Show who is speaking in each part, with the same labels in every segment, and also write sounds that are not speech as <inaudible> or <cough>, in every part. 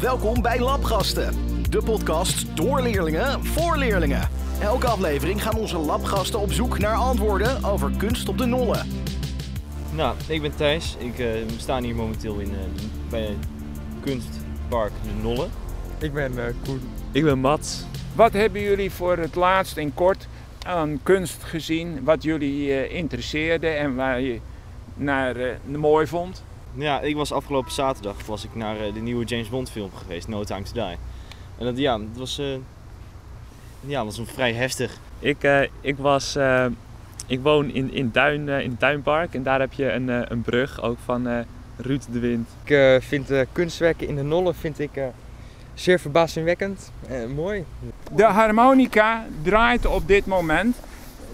Speaker 1: Welkom bij Labgasten, de podcast door leerlingen voor leerlingen. Elke aflevering gaan onze labgasten op zoek naar antwoorden over kunst op de nollen.
Speaker 2: Nou, ik ben Thijs. Ik eh, we staan hier momenteel in, eh, bij Kunstpark De Nolle.
Speaker 3: Ik ben eh, Koen.
Speaker 4: Ik ben Mats.
Speaker 5: Wat hebben jullie voor het laatst en kort aan kunst gezien? Wat jullie eh, interesseerde en waar je naar eh, mooi vond?
Speaker 2: Ja, ik was afgelopen zaterdag was ik naar eh, de nieuwe James Bond film geweest, No Time To Die. En dat, ja, dat was, eh, ja, dat was een vrij heftig.
Speaker 4: Ik, eh, ik, was, eh, ik woon in, in, Duin, eh, in Duinpark en daar heb je een, eh, een brug ook van eh, Ruud de Wind.
Speaker 3: Ik eh, vind eh, kunstwerken in de Nolle vind ik, eh, zeer verbazingwekkend en mooi.
Speaker 5: De harmonica draait op dit moment.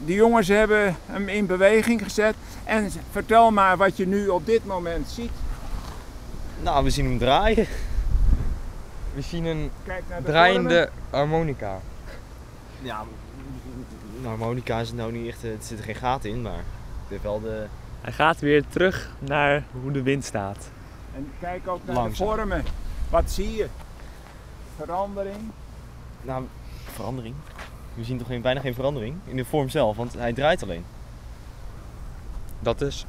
Speaker 5: De jongens hebben hem in beweging gezet. En vertel maar wat je nu op dit moment ziet.
Speaker 2: Nou, we zien hem draaien.
Speaker 3: We zien een
Speaker 5: Kijk naar de vormen.
Speaker 3: draaiende harmonica.
Speaker 2: Ja, een harmonica is het nou niet echt, eh, het zit er geen gaten in, maar het heeft wel de...
Speaker 4: Hij gaat weer terug naar hoe de wind staat.
Speaker 5: En kijk ook naar
Speaker 2: Langzaam.
Speaker 5: de vormen. Wat zie je? Verandering.
Speaker 2: Nou, verandering. We zien toch geen, bijna geen verandering in de vorm zelf, want hij draait alleen.
Speaker 3: Dat is.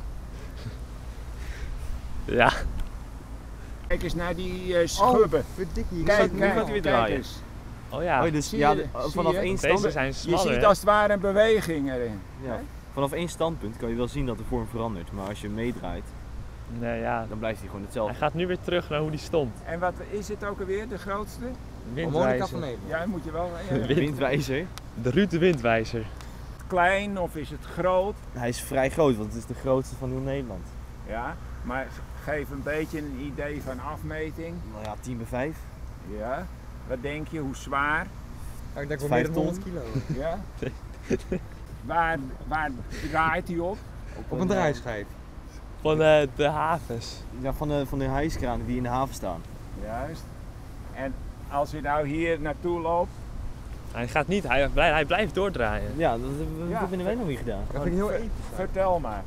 Speaker 4: Ja,
Speaker 5: Kijk eens naar die eh schubben.
Speaker 3: verdikkie.
Speaker 5: kijk,
Speaker 2: Oh, nu
Speaker 5: kijk,
Speaker 2: gaat hij weer
Speaker 5: kijk
Speaker 2: draaien.
Speaker 5: eens.
Speaker 4: oh ja.
Speaker 2: Oh, dus,
Speaker 5: Ah. Zie
Speaker 2: ja,
Speaker 5: je-
Speaker 2: de-
Speaker 5: zie
Speaker 2: vanaf
Speaker 5: je?
Speaker 2: één
Speaker 4: Deze
Speaker 2: standpunt.
Speaker 4: zijn
Speaker 5: Je
Speaker 4: smaller.
Speaker 5: ziet
Speaker 4: hè?
Speaker 5: als het ware een beweging erin.
Speaker 2: Ja, vanaf één standpunt kan je wel zien dat de vorm verandert, maar als je meedraait,
Speaker 4: Nee, ja.
Speaker 2: dan blijft hij gewoon
Speaker 4: Hij
Speaker 2: <laughs> hetzelfde.
Speaker 4: gaat nu weer terug naar hoe die stond.
Speaker 5: En wat is het ook alweer, de grootste?
Speaker 3: Harmonica
Speaker 4: Windwijzer.
Speaker 3: van Nederland.
Speaker 5: Ja, moet je wel. eh,
Speaker 2: <laughs>
Speaker 5: ja, ja.
Speaker 4: Wind-
Speaker 2: Windwijzer.
Speaker 4: De Ruud de Windwijzer.
Speaker 5: Klein of is het groot?
Speaker 2: Hij is vrij groot, want het is de grootste van heel Nederland.
Speaker 5: Ja, maar geef een beetje een idee van afmeting.
Speaker 2: Nou ja, 10 bij 5.
Speaker 5: Ja. Wat denk je, hoe zwaar?
Speaker 3: Oh, ik denk wel
Speaker 2: Vijf
Speaker 3: meer dan
Speaker 2: ton.
Speaker 3: 100 kilo.
Speaker 2: <laughs>
Speaker 5: Ja. waar, waar draait hij op?
Speaker 3: Op een draaischijf.
Speaker 4: Van eh, de havens.
Speaker 2: eh, Ja, van de, van de hijskranen die in de haven staan.
Speaker 5: Juist. En als je nou hier naartoe loopt,
Speaker 4: Hij gaat niet, hij, blij- hij blijft doordraaien.
Speaker 2: Ja, dat hebben we
Speaker 5: Ja.
Speaker 2: dat hebben wij nog niet gedaan.
Speaker 3: Dat vind ik heel e-
Speaker 5: ver-
Speaker 3: eet.
Speaker 5: vertel maar.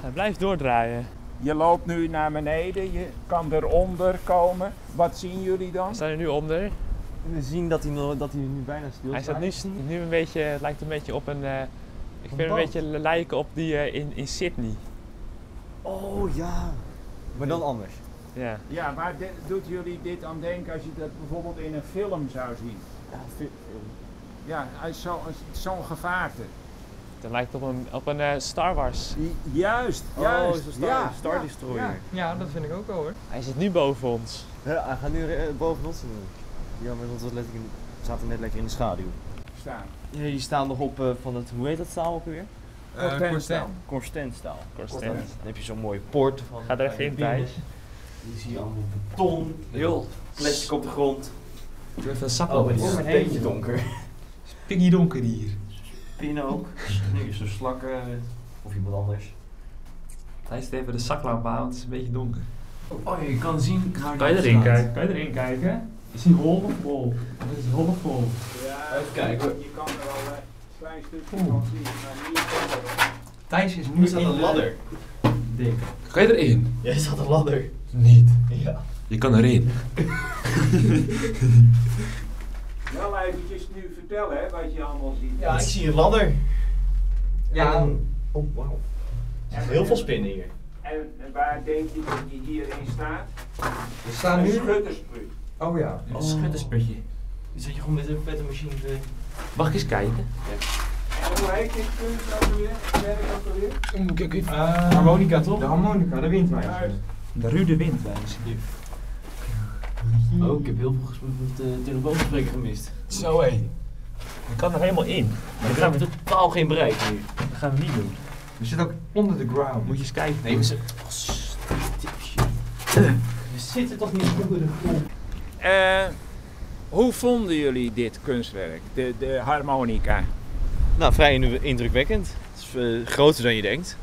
Speaker 4: Hij blijft doordraaien.
Speaker 5: Je loopt nu naar beneden, je kan eronder komen. Wat zien jullie dan?
Speaker 4: We staan er nu onder.
Speaker 2: We zien dat hij, nog- dat hij nu bijna stil
Speaker 4: Hij staat nu, s- nu een beetje, het lijkt een beetje op een... eh, ik vind hem een
Speaker 2: boot.
Speaker 4: beetje lijken op die eh, in, in Sydney.
Speaker 2: Oh ja. Maar dan anders.
Speaker 4: Ja.
Speaker 5: Ja, waar de- doet jullie dit aan denken als je dat bijvoorbeeld in een film zou zien?
Speaker 2: Ja, vi-
Speaker 5: Ja, als zo- als zo'n gevaarte.
Speaker 4: Het lijkt op een, op een eh, Star Wars.
Speaker 5: Juist, juist.
Speaker 2: oh, zo'n Star,
Speaker 5: ja,
Speaker 2: Star
Speaker 5: ja, ja.
Speaker 2: Destroyer.
Speaker 3: Ja, dat vind ik ook wel hoor.
Speaker 4: Hij zit nu boven ons.
Speaker 2: Ja, hij gaat nu eh, boven ons doen. Ja, maar ons was letterlijk in, we zaten net lekker in de schaduw.
Speaker 5: Staan.
Speaker 2: Ja, je staat nog op eh, van het, hoe heet dat staal ook weer?
Speaker 3: Eh,
Speaker 5: Corten staan.
Speaker 2: Corstenstaal.
Speaker 4: Corsten.
Speaker 2: Dan heb je zo'n mooie poort van. eh,
Speaker 4: Ga er even in, Thijs.
Speaker 2: Die zie je allemaal beton. Heel plastic op de grond. Oh,
Speaker 6: Even een sap over.
Speaker 2: een beetje donker.
Speaker 6: Piggy donker hier.
Speaker 2: Pin ook. Nu is er slakken. eh, Of iemand anders.
Speaker 6: Hij zit even de zaklamp aan, want het is een beetje donker.
Speaker 2: Oh, je kan zien.
Speaker 6: Kan je erin kijken? Kan je erin kijken? Is hij hol of bol? Of is het hol of bol?
Speaker 5: Ja,
Speaker 2: Even kijken.
Speaker 5: Je kan er al een klein stukje van zien, maar hier komt er wel.
Speaker 6: Thijs is nu
Speaker 2: Hier staat een ladder.
Speaker 6: Ding. Kan je erin?
Speaker 2: Jij staat een ladder.
Speaker 6: Niet.
Speaker 2: Ja.
Speaker 6: Je kan erin.
Speaker 5: Wel eventjes nu vertellen hè, wat je allemaal ziet.
Speaker 2: ik zie een ladder.
Speaker 3: Ja.
Speaker 2: En een- Oh, wauw. Er zitten heel veel spinnen hier.
Speaker 5: En, en waar denk je dat je hierin staat?
Speaker 3: We staan
Speaker 5: Een
Speaker 3: nu.
Speaker 5: schuttersprut.
Speaker 3: Oh ja.
Speaker 6: Een schuttersputje.
Speaker 2: Dan zit je gewoon met een, met een machine te...
Speaker 6: Mag ik eens kijken?
Speaker 5: En hoe heet dit kunst ook alweer? Het werk ook alweer?
Speaker 2: Mm, Eh,
Speaker 3: harmonica toch? De harmonica, de windwijzer.
Speaker 5: Juist.
Speaker 6: De ruwe wind wijzen.
Speaker 2: Oh, ik heb heel veel gesproken met de telefoonspreker gemist.
Speaker 6: Zo hé.
Speaker 4: Hij kan er helemaal in.
Speaker 2: Maar ik heb totaal geen bereik hier.
Speaker 4: Dat gaan we niet doen.
Speaker 3: We zitten ook onder de ground.
Speaker 4: Moet je eens kijken.
Speaker 2: Nee, we zitten... Oh, We zitten toch niet onder de grond?
Speaker 5: Eh, hoe vonden jullie dit kunstwerk, de, de harmonica?
Speaker 2: Nou, vrij in- indrukwekkend. Het is eh, groter dan je denkt.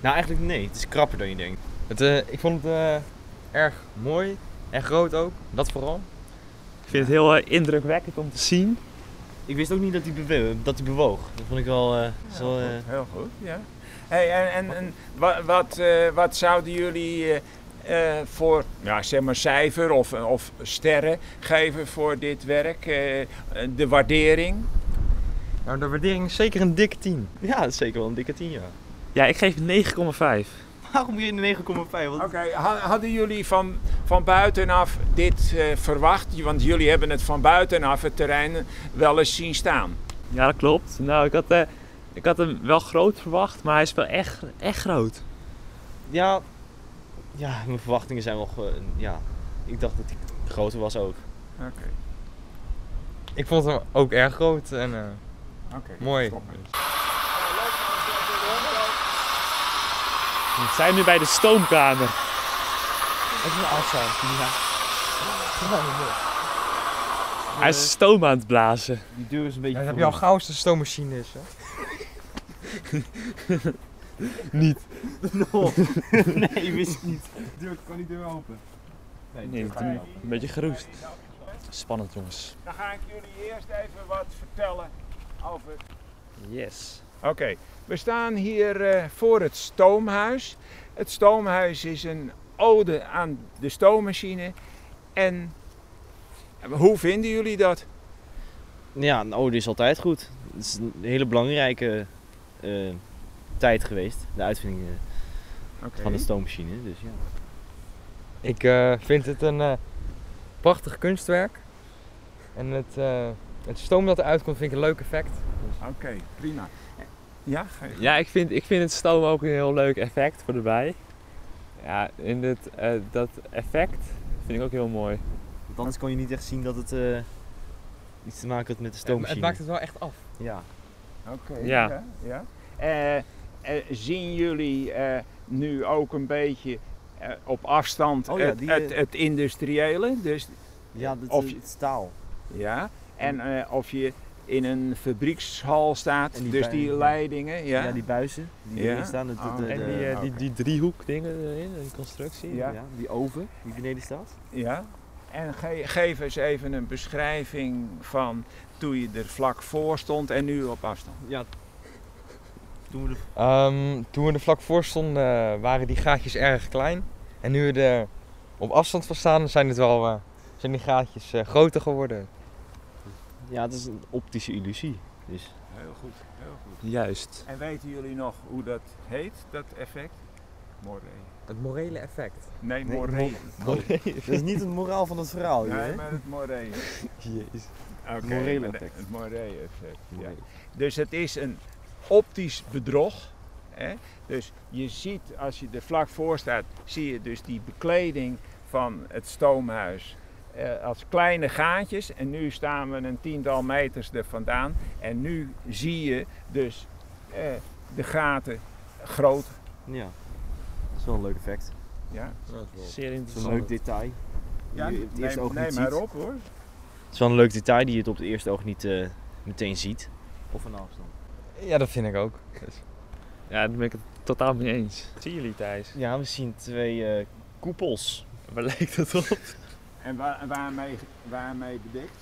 Speaker 2: Nou, eigenlijk nee. Het is krapper dan je denkt.
Speaker 3: Het, eh, ik vond het eh, erg mooi en groot ook. Dat vooral.
Speaker 4: Ik vind het heel eh, indrukwekkend om te zien.
Speaker 2: Ik wist ook niet dat hij, bewe- dat hij bewoog. Dat vond ik wel... eh, zo, eh,
Speaker 5: Heel goed, ja. Hey, en en, en wa- wat, eh, wat zouden jullie eh, eh, voor, ja, zeg maar, cijfer of, of sterren geven voor dit werk? eh, de waardering?
Speaker 3: Nou, de waardering is zeker een dikke 10.
Speaker 2: Ja, dat is zeker wel een dikke 10 jaar.
Speaker 4: Ja, ik geef het 9,5.
Speaker 2: Waarom hier in 9,5? Want-
Speaker 5: Oké, ha- hadden jullie van, van buitenaf dit eh, verwacht? Want jullie hebben het van buitenaf, het terrein, wel eens zien staan.
Speaker 4: Ja, dat klopt. Nou, ik had, eh, ik had hem wel groot verwacht, maar hij is wel echt, echt groot.
Speaker 2: Ja, ja, mijn verwachtingen zijn wel. ge- Ja, ik dacht dat die groter was ook.
Speaker 5: Oké,
Speaker 3: Ik vond hem ook erg groot en eh,
Speaker 5: oké.
Speaker 3: mooi.
Speaker 5: Stop.
Speaker 4: We zijn nu bij de stoomkamer. Hij is stoom aan het blazen.
Speaker 2: Die deur is een beetje.
Speaker 3: Ja, dat heb je al gauw als de stoommachine is. Hè?
Speaker 2: Nee, wist het niet. Deur, kan die deur open? Nee,
Speaker 4: Nee,
Speaker 2: kan niet
Speaker 4: Een beetje geroest. Spannend, jongens.
Speaker 5: Dan ga ik jullie eerst even wat vertellen over
Speaker 4: Yes.
Speaker 5: Oké, we staan hier eh, voor het stoomhuis. Het stoomhuis is een ode aan de stoommachine. En hoe vinden jullie dat?
Speaker 2: open. Ja, een ode is altijd goed. Het is een hele belangrijke eh, tijd geweest, de uitvinding eh,
Speaker 5: Oké.
Speaker 2: van de stoommachine. Dus ja.
Speaker 3: Ik eh, vind het een eh, prachtig kunstwerk. En het, eh, het stoom dat eruit komt vind ik een leuk effect.
Speaker 5: Oké, prima. Ja, ga je-
Speaker 4: Ja, ik vind, ik vind het stoom ook een heel leuk effect voor de bij. Ja, in dit, eh, dat effect vind ik ook heel mooi.
Speaker 2: Want anders kon je niet echt zien dat het eh, iets te maken had met de
Speaker 5: Eh,
Speaker 3: Ja, maar
Speaker 2: stoommachine.
Speaker 3: het maakt het wel echt af.
Speaker 2: Ja.
Speaker 5: Oké.
Speaker 4: Ja.
Speaker 5: ja, ja. Eh, eh, zien jullie eh, nu ook een beetje eh, op afstand
Speaker 2: Oh ja,
Speaker 5: het,
Speaker 2: die,
Speaker 5: het,
Speaker 2: eh,
Speaker 5: het industriële? Dus,
Speaker 2: Ja, dat eh,
Speaker 5: Of-
Speaker 2: het staal.
Speaker 5: ja. En eh, of je in een fabriekshal staat,
Speaker 2: En die
Speaker 5: dus
Speaker 2: pijn,
Speaker 5: die
Speaker 2: ja.
Speaker 5: leidingen.
Speaker 2: Ja,
Speaker 5: Ja,
Speaker 2: die buizen die
Speaker 5: Ja.
Speaker 2: erin staan. Dat, dat-
Speaker 5: Oh,
Speaker 2: de-
Speaker 4: En die,
Speaker 2: de-
Speaker 4: eh, die,
Speaker 5: oké.
Speaker 4: die driehoek dingen erin, die constructie.
Speaker 5: Ja.
Speaker 2: ja. die oven die beneden staat.
Speaker 5: Ja. En ge- geef eens even een beschrijving van toen je er vlak voor stond en nu op afstand.
Speaker 2: Ja. Toen we de
Speaker 3: Ehm, toen we er vlak voor stonden eh, waren die gaatjes erg klein. En nu we er op afstand van staan zijn, het wel, eh, zijn die gaatjes eh, groter geworden.
Speaker 2: Ja, het is een optische illusie. Dus.
Speaker 5: Heel goed, heel goed.
Speaker 4: Juist.
Speaker 5: En weten jullie nog hoe dat heet, dat effect? Moré.
Speaker 3: Het morele effect.
Speaker 5: Nee,
Speaker 2: Nee,
Speaker 5: moré.
Speaker 2: mor- Oh. <laughs> dat is niet het moraal van het verhaal,
Speaker 5: nee, maar het
Speaker 2: <laughs>
Speaker 5: moré.
Speaker 2: Jezus.
Speaker 5: Oké,
Speaker 2: Morele
Speaker 5: maar de-
Speaker 2: effect.
Speaker 5: Het moré effect, ja.
Speaker 2: Moré.
Speaker 5: Dus het is een optisch bedrog. Hè? Dus je ziet, als je er vlak voor staat, zie je dus die bekleding van het stoomhuis eh, als kleine gaatjes. En nu staan we een tiental meters er vandaan. En nu zie je dus eh, de gaten groot.
Speaker 2: Ja. Dat is wel een leuk effect.
Speaker 5: Ja,
Speaker 4: Zeer
Speaker 2: Het is een
Speaker 4: interessant.
Speaker 2: leuk detail.
Speaker 5: ja
Speaker 2: die je op het eerste
Speaker 5: neem,
Speaker 2: oog
Speaker 5: neem
Speaker 2: niet
Speaker 5: maar
Speaker 2: ziet.
Speaker 5: op hoor.
Speaker 2: Het is wel een leuk detail die je het op het eerste oog niet eh, meteen ziet. Of een afstand.
Speaker 3: Ja, dat vind ik ook. Dus
Speaker 4: Ja, daar ben ik het totaal mee eens. Zien jullie Thijs?
Speaker 2: Ja, we zien twee eh, koepels.
Speaker 4: Waar lijkt het op?
Speaker 5: En waar, waarmee, waarmee bedekt?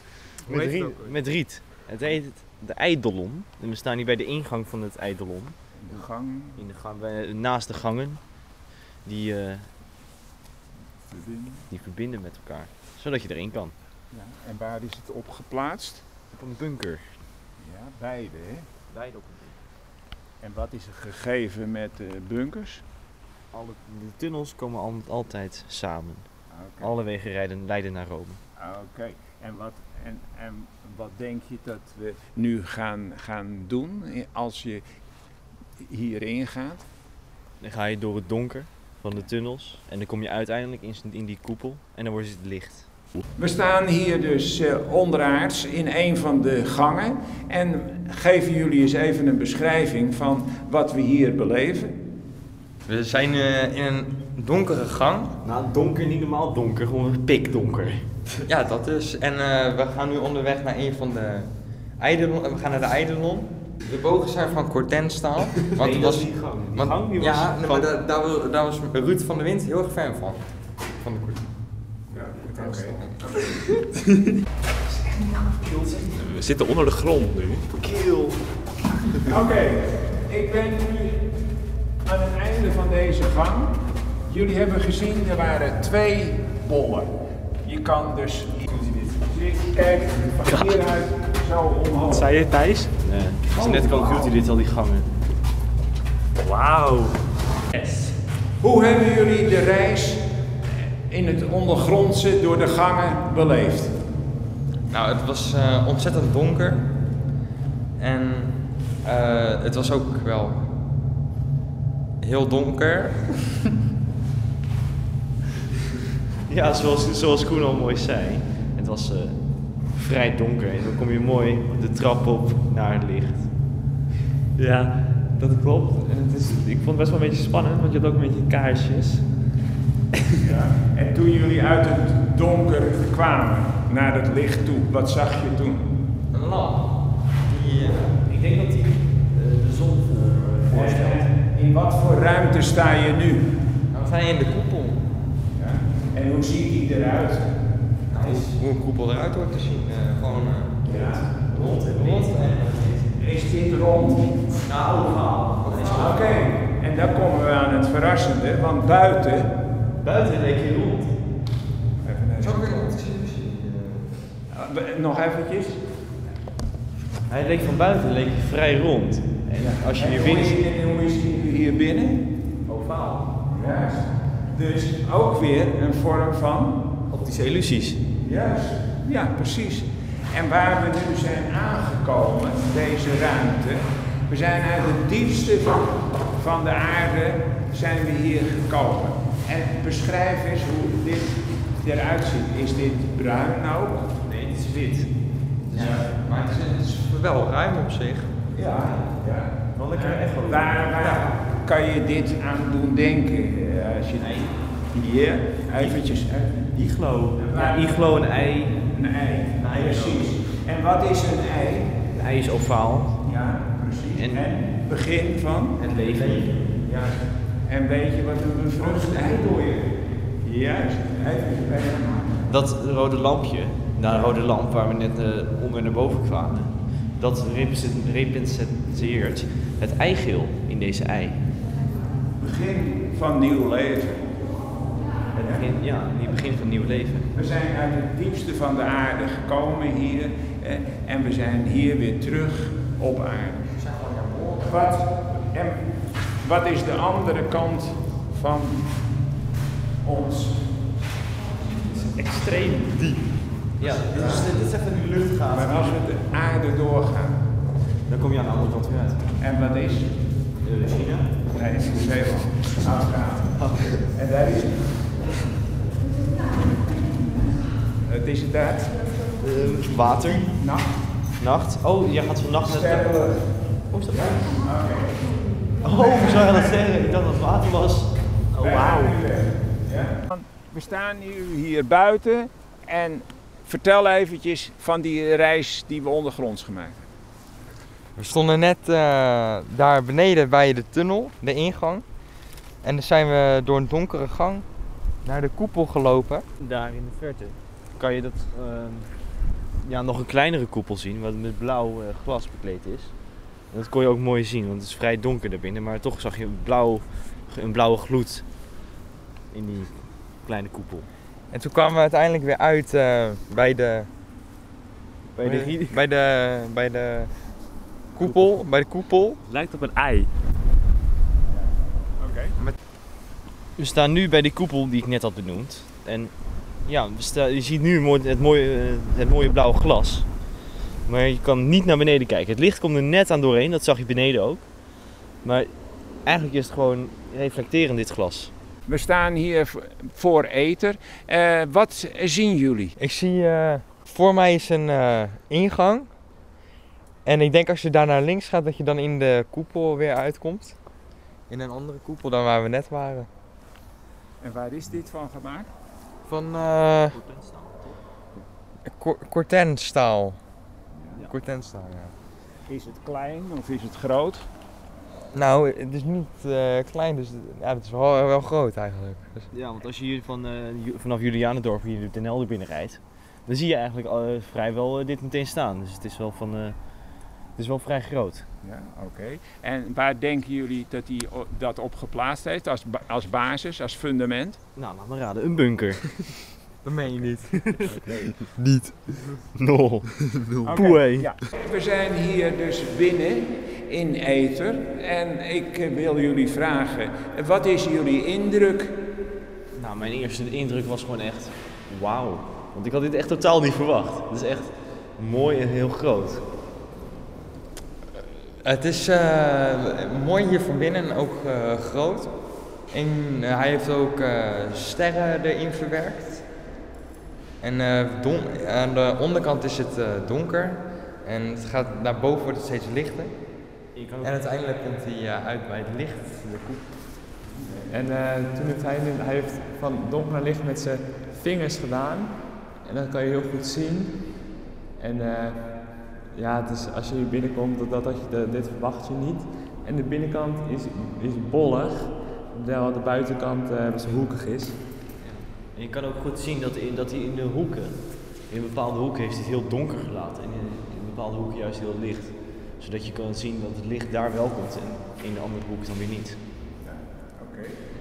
Speaker 2: Met riet. Met riet. Het heet het- de Eidelon. En we staan hier bij de ingang van het Eidelon.
Speaker 5: De gang,
Speaker 2: In de gang, bij- naast de gangen. Die, eh,
Speaker 5: de ding.
Speaker 2: die verbinden met elkaar. Zodat je erin kan.
Speaker 5: Ja. En waar is het op geplaatst?
Speaker 2: Op een bunker.
Speaker 5: Ja, beide hè.
Speaker 2: Beide op een bunker.
Speaker 5: En wat is er gegeven met eh, bunkers?
Speaker 2: Alle, de tunnels komen al- altijd samen.
Speaker 5: Oké.
Speaker 2: Alle wegen rijden, leiden naar Rome.
Speaker 5: Ah, Oké. En, wat, en, en wat denk je dat we nu gaan, gaan doen eh, als je hierin gaat?
Speaker 2: Dan ga je door het donker van de tunnels. En dan kom je uiteindelijk in, in die koepel. En dan wordt het licht.
Speaker 5: We staan hier dus eh, onderaards in een van de gangen. En geven jullie eens even een beschrijving van wat we hier beleven.
Speaker 3: We zijn eh, in een donkere gang.
Speaker 2: Nou, donker niet normaal donker. Gewoon pikdonker.
Speaker 3: Ja, dat dus. En eh, we gaan nu onderweg naar een van de Eidelon. eh, We gaan naar de Eidelon. De bogen zijn van cortenstaal. Want het was,
Speaker 2: gang.
Speaker 3: want- ja, nee, maar daar, daar, wil- daar was Ruud van der Wind heel erg fan van. Van de corten.
Speaker 4: We zitten onder de grond nu.
Speaker 5: Oké, ik ben nu aan het einde van deze gang. Jullie hebben gezien, er waren twee bollen. Je kan dus... Kijk, van hieruit zo omhoog.
Speaker 6: Zei je Thijs?
Speaker 2: Nee. Het is net Call of Duty dit, al die gangen.
Speaker 6: Wauw.
Speaker 5: Hoe hebben jullie de reis in het ondergrondse door de gangen beleefd?
Speaker 3: Nou, het was eh, ontzettend donker. En eh, het was ook wel heel donker.
Speaker 2: Ja, zoals, zoals Koen al mooi zei. Het was eh, vrij donker en dan kom je mooi de trap op naar het licht.
Speaker 6: Ja, dat klopt. En het is, ik vond het best wel een beetje spannend, want je had ook een beetje kaarsjes.
Speaker 5: En toen jullie uit het donker kwamen naar het licht toe, wat zag je toen?
Speaker 3: Een lamp. Die, eh,
Speaker 7: Ik denk dat die eh, de zon voor, voorstelt.
Speaker 5: Eh, In wat voor ruimte sta je nu?
Speaker 3: nou, we zijn in de koepel.
Speaker 5: En hoe ziet die eruit?
Speaker 3: Nou, hoe een koepel eruit hoort te zien. eh, gewoon eh,
Speaker 5: Ja.
Speaker 7: Rond en
Speaker 3: rond.
Speaker 7: breed.
Speaker 3: En,
Speaker 5: Is dit rond?
Speaker 7: Nou, ovaal. Dat is
Speaker 5: Oké, en dan komen we aan het verrassende, want buiten...
Speaker 2: Buiten denk je rond.
Speaker 5: Even
Speaker 3: het is
Speaker 5: naar-
Speaker 3: ook weer rond te zien misschien. eh.
Speaker 5: Eh, Nog eventjes.
Speaker 2: Hij leek van buiten leek hij vrij rond. En als je
Speaker 5: En
Speaker 2: hier
Speaker 5: hoe
Speaker 2: binnen
Speaker 5: is, en hoe is die hier binnen?
Speaker 7: Ovaal.
Speaker 5: Juist. Dus ook weer een vorm van
Speaker 2: optische illusies.
Speaker 5: Juist, ja, precies. En waar we nu zijn aangekomen, deze ruimte, we zijn uit het diepste van, van de aarde zijn we hier gekomen. En beschrijf eens hoe dit eruit ziet. Is dit bruin ook?
Speaker 2: Nee, het is wit.
Speaker 3: Maar het is, het is wel ruim op zich.
Speaker 5: Ja, ja.
Speaker 2: Wel lekker echo.
Speaker 5: Eh, Waar, waar kan je dit aan doen denken? eh, Als je hier, eventjes, even.
Speaker 2: Iglo. Ja, iglo en ei.
Speaker 5: een ei.
Speaker 2: Een ei,
Speaker 5: precies. En wat is een ei?
Speaker 2: Een ei is ovaal.
Speaker 5: Ja, precies.
Speaker 2: En-
Speaker 5: begin van?
Speaker 2: Het leven.
Speaker 5: Ja. En weet je wat een bevrucht ei doet? Juist. Even bij
Speaker 2: Dat rode lampje, nou, de rode lamp waar we net eh, onder naar boven kwamen, dat represent- representeert het eigeel in deze ei.
Speaker 5: Begin van nieuw leven.
Speaker 2: Het begin, ja, die begin van nieuw leven.
Speaker 5: We zijn uit het diepste van de aarde gekomen hier eh, en we zijn hier weer terug op aarde. Wat, en wat is de andere kant van ons?
Speaker 2: Extreem diep. Ja, dit is, dit is echt een
Speaker 5: Maar als
Speaker 2: luchtgaaf.
Speaker 5: we de aarde doorgaan,
Speaker 2: Dan kom je aan de andere kant weer uit.
Speaker 5: en wat is?
Speaker 2: Eh, China?
Speaker 5: Nee, is Zeeland. Afgaan. En daar is het. Het is het dat.
Speaker 2: Eh, water.
Speaker 5: Nou,
Speaker 2: Nacht. Oh, jij gaat vannacht naar
Speaker 5: sterren.
Speaker 2: Oh, is dat Oh, we zouden dat zeggen. Ik dacht dat het water was. Oh, wauw.
Speaker 5: We staan nu hier buiten en vertel eventjes van die reis die we ondergronds gemaakt hebben.
Speaker 3: We stonden net eh, daar beneden bij de tunnel, de ingang. En dan zijn we door een donkere gang naar de koepel gelopen.
Speaker 2: Daar in de verte kan je dat ehm, ja, nog een kleinere koepel zien, wat met blauw eh, glas bekleed is. En dat kon je ook mooi zien, want het is vrij donker daarbinnen, maar toch zag je een, blauw, een blauwe gloed in die kleine koepel.
Speaker 3: En toen kwamen we uiteindelijk weer uit eh, bij de
Speaker 2: Bij de
Speaker 3: bij, bij de bij de koepel, bij de koepel.
Speaker 4: Lijkt op een ei.
Speaker 2: We staan nu bij die koepel die ik net had benoemd. En ja, we sta- je ziet nu mooi- het mooie, eh, het mooie blauwe glas. Maar je kan niet naar beneden kijken. Het licht komt er net aan doorheen, dat zag je beneden ook. Maar eigenlijk is het gewoon reflecterend dit glas.
Speaker 5: We staan hier v- voor Eter. Eh, wat zien jullie?
Speaker 3: Ik zie eh, voor mij is een eh, ingang. En ik denk als je daar naar links gaat dat je dan in de koepel weer uitkomt. In een andere koepel dan waar we net waren.
Speaker 5: En waar is dit van gemaakt?
Speaker 3: Van eh Cor- Cortenstaal.
Speaker 5: Ja.
Speaker 3: Cortenstaal, ja.
Speaker 5: Is het klein of is het groot?
Speaker 3: Nou, het is niet eh, klein, dus ja, het is wel, wel groot eigenlijk. Dus-
Speaker 2: Ja, want als je hier van, eh, vanaf Julianendorp hier de eh, NL binnen rijdt, dan zie je eigenlijk vrijwel dit meteen staan. Dus het is wel van Het is wel vrij groot.
Speaker 5: Ja, oké. En waar denken jullie dat hij o- dat op geplaatst heeft als, ba- als basis, als fundament?
Speaker 2: Nou, laat me raden, een bunker. <laughs>
Speaker 3: Dat meen je niet.
Speaker 2: <laughs> Nol.
Speaker 5: Oké,
Speaker 2: Poei.
Speaker 5: ja. We zijn hier dus binnen in Eter en ik eh, wil jullie vragen, eh, wat is jullie indruk?
Speaker 2: Nou, mijn eerste indruk was gewoon echt wauw. Want ik had dit echt totaal niet verwacht. Het is echt mooi en heel groot.
Speaker 3: Het is eh, mooi hier van binnen en ook eh, groot. En eh, hij heeft ook eh, sterren erin verwerkt. En eh, don- aan de onderkant is het eh, donker. En het gaat naar boven wordt het steeds lichter. En uiteindelijk komt hij eh, uit bij het licht. De koep.
Speaker 6: En eh, toen heeft hij, hij heeft van donker naar licht met zijn vingers gedaan. En dat kan je heel goed zien. En eh, ja, het is, als je hier binnenkomt, dat, dat, dat je de- dit verwacht je niet. En de binnenkant is, is bollig, terwijl de buitenkant eh best wel hoekig is.
Speaker 2: En je kan ook goed zien dat, in, dat hij in de hoeken, in bepaalde hoeken heeft hij het heel donker gelaten. En in, in bepaalde hoeken juist heel licht. Zodat je kan zien dat het licht daar wel komt en in de andere hoek dan weer niet.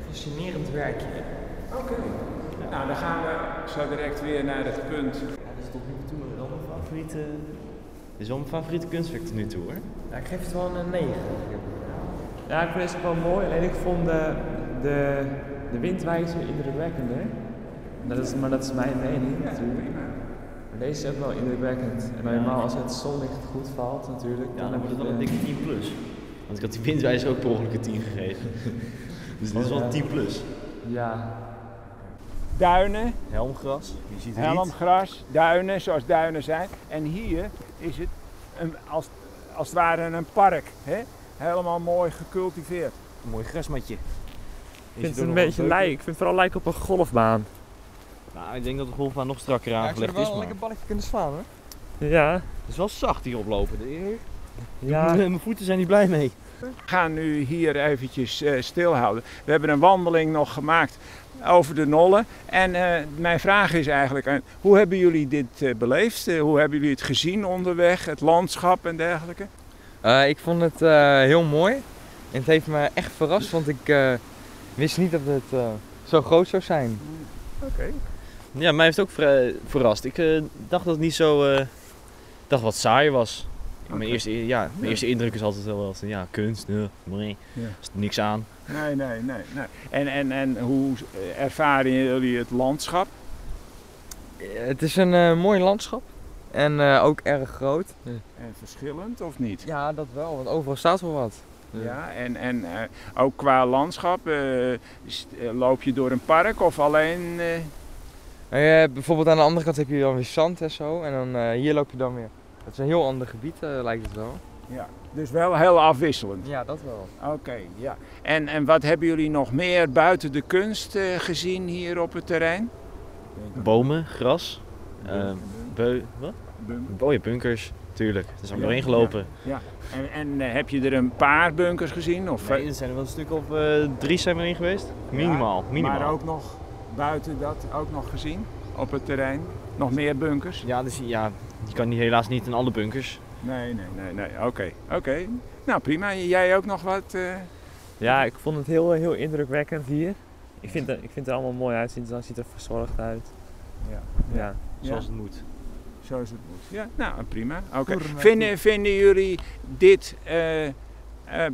Speaker 3: Fascinerend werkje.
Speaker 5: Oké, nou dan gaan we zo direct weer naar het punt.
Speaker 2: dat is tot nu toe wel mijn favoriete... Dit is wel mijn favoriete kunstwerk tot nu toe hoor.
Speaker 3: Nou, ik geef het wel een 9.
Speaker 6: Ja, ik vind het wel mooi, alleen ik vond de, de, de windwijzer indrukwekkender. Dat is, maar dat is mijn mening natuurlijk. Maar deze is ook wel indrukwekkend. En normaal als het zonlicht goed valt natuurlijk,
Speaker 2: Ja, Ah, dan
Speaker 6: heb
Speaker 2: wordt
Speaker 6: je
Speaker 2: het wel een
Speaker 6: de-
Speaker 2: dikke 10 plus. Want ik had die windwijzer ook per ongeluk een 10 <laughs> gegeven. Dus dit is wel een 10 plus.
Speaker 6: Ja,
Speaker 5: Duinen,
Speaker 2: Helmgras, je ziet het niet.
Speaker 5: helmgras, duinen zoals duinen zijn. En hier is het een, als, als het ware een park, hè? helemaal mooi gecultiveerd.
Speaker 2: Een mooi grasmatje.
Speaker 6: ik vind het een beetje lijk. Ik vind het vooral lijken op een golfbaan.
Speaker 2: Nou, ik denk dat de golfbaan nog strakker
Speaker 3: ik zou
Speaker 2: aangelegd
Speaker 3: wel
Speaker 2: is,
Speaker 3: een
Speaker 2: maar...
Speaker 3: lekker balletje kunnen slaan hoor.
Speaker 6: Ja.
Speaker 2: Het is wel zacht hier oplopen. De-
Speaker 6: Ja.
Speaker 2: Mijn voeten zijn niet blij mee.
Speaker 5: We gaan nu hier eventjes eh, stilhouden. We hebben een wandeling nog gemaakt over de Nollen. En eh, mijn vraag is eigenlijk, aan- hoe hebben jullie dit eh, beleefd? Eh, hoe hebben jullie het gezien onderweg, het landschap en dergelijke?
Speaker 3: Eh, ik vond het eh, heel mooi. En het heeft me echt verrast, want ik eh, wist niet dat het eh, zo groot zou zijn.
Speaker 5: Oké.
Speaker 2: Ja, mij heeft ook vrij- verrast. Ik eh, dacht dat het niet zo... eh, ik dacht wat saai was. Mijn, eerste, ja, mijn
Speaker 5: Ja.
Speaker 2: eerste indruk is altijd wel wat, ja, kunst, eh, nee,
Speaker 5: Ja.
Speaker 2: is er niks aan.
Speaker 5: Nee, nee, nee. nee. En, en, en hoe eh, ervaren jullie het landschap?
Speaker 3: Eh, het is een eh, mooi landschap en eh, ook erg groot.
Speaker 5: En Eh, verschillend of niet?
Speaker 3: Ja, dat wel, want overal staat wel wat.
Speaker 5: Ja, en, en eh, ook qua landschap, eh, st- eh, loop je door een park of alleen... eh,
Speaker 3: Eh, bijvoorbeeld aan de andere kant heb je dan weer zand en zo. En dan eh, hier loop je dan weer. Dat is een heel ander gebied, eh, lijkt het wel.
Speaker 5: ja. Dus wel heel afwisselend.
Speaker 3: Ja, dat wel.
Speaker 5: Oké, ja. En, en wat hebben jullie nog meer buiten de kunst eh, gezien hier op het terrein?
Speaker 2: Bomen, gras, eh, beu... Wat? Oh ja, bunkers. Tuurlijk, daar zijn we
Speaker 5: Ja,
Speaker 2: doorheen gelopen.
Speaker 5: En, en eh, heb je er een paar bunkers gezien? Of,
Speaker 2: Nee, er zijn er wel een stuk of eh, drie zijn we erin geweest. Minimaal, minimaal.
Speaker 5: Maar ook nog buiten dat ook nog gezien op het terrein? Nog meer bunkers?
Speaker 2: Ja, dus, ja, je kan die helaas niet in alle bunkers.
Speaker 5: Nee, nee, nee. nee. Oké, oké. Nou prima. Jij ook nog wat? eh?
Speaker 6: ja, ik vond het heel, heel indrukwekkend hier. Ik vind, het- ik vind het er allemaal mooi uitzien, het ziet er verzorgd uit.
Speaker 5: Ja.
Speaker 6: ja.
Speaker 2: Zoals het moet.
Speaker 5: Zo is het moet. Ja, nou prima. Oké. Vinden, vinden jullie dit eh, eh,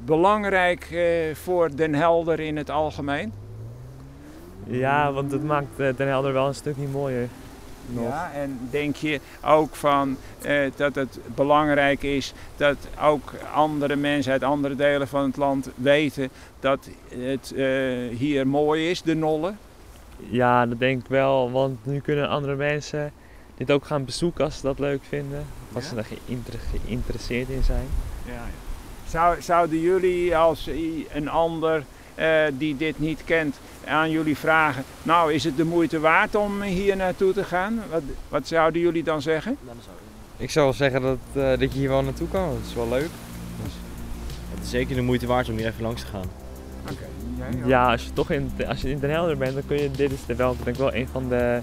Speaker 5: belangrijk eh, voor Den Helder in het algemeen?
Speaker 6: Ja, want het maakt eh, Den Helder wel een stukje mooier. Nog.
Speaker 5: Ja, en denk je ook van eh, dat het belangrijk is dat ook andere mensen uit andere delen van het land weten dat het eh, hier mooi is, de Nolle?
Speaker 6: Ja, dat denk ik wel, want nu kunnen andere mensen dit ook gaan bezoeken als ze dat leuk vinden. Of als
Speaker 5: Ja.
Speaker 6: ze er geïnter- geïnteresseerd in zijn.
Speaker 5: Ja. Zou, zouden jullie als i- een ander eh, die dit niet kent aan jullie vragen, nou is het de moeite waard om hier naartoe te gaan? Wat, wat zouden jullie dan zeggen?
Speaker 3: Ik zou wel zeggen dat, eh, dat je hier wel naartoe kan, want het is wel leuk.
Speaker 2: Het is zeker de moeite waard om hier even langs te gaan.
Speaker 5: Oké,
Speaker 6: Ja, als je toch in, als je in Den Helder bent, dan kun je, dit is de wel, denk ik wel een van de,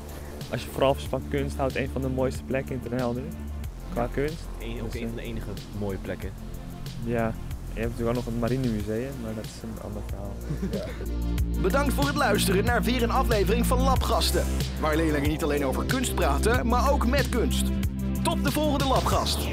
Speaker 6: als je vooral van kunst houdt, een van de mooiste plekken in Den Helder. qua kunst.
Speaker 2: Eén- ook
Speaker 6: Dus,
Speaker 2: een
Speaker 6: eh,
Speaker 2: van de enige mooie plekken.
Speaker 6: Ja, je hebt natuurlijk ook nog het Marinemuseum, maar dat is een ander verhaal.
Speaker 1: Bedankt voor het luisteren naar weer een aflevering van Labgasten. Waar leerlingen niet alleen over kunst praten, maar ook met kunst. Tot de volgende Labgast.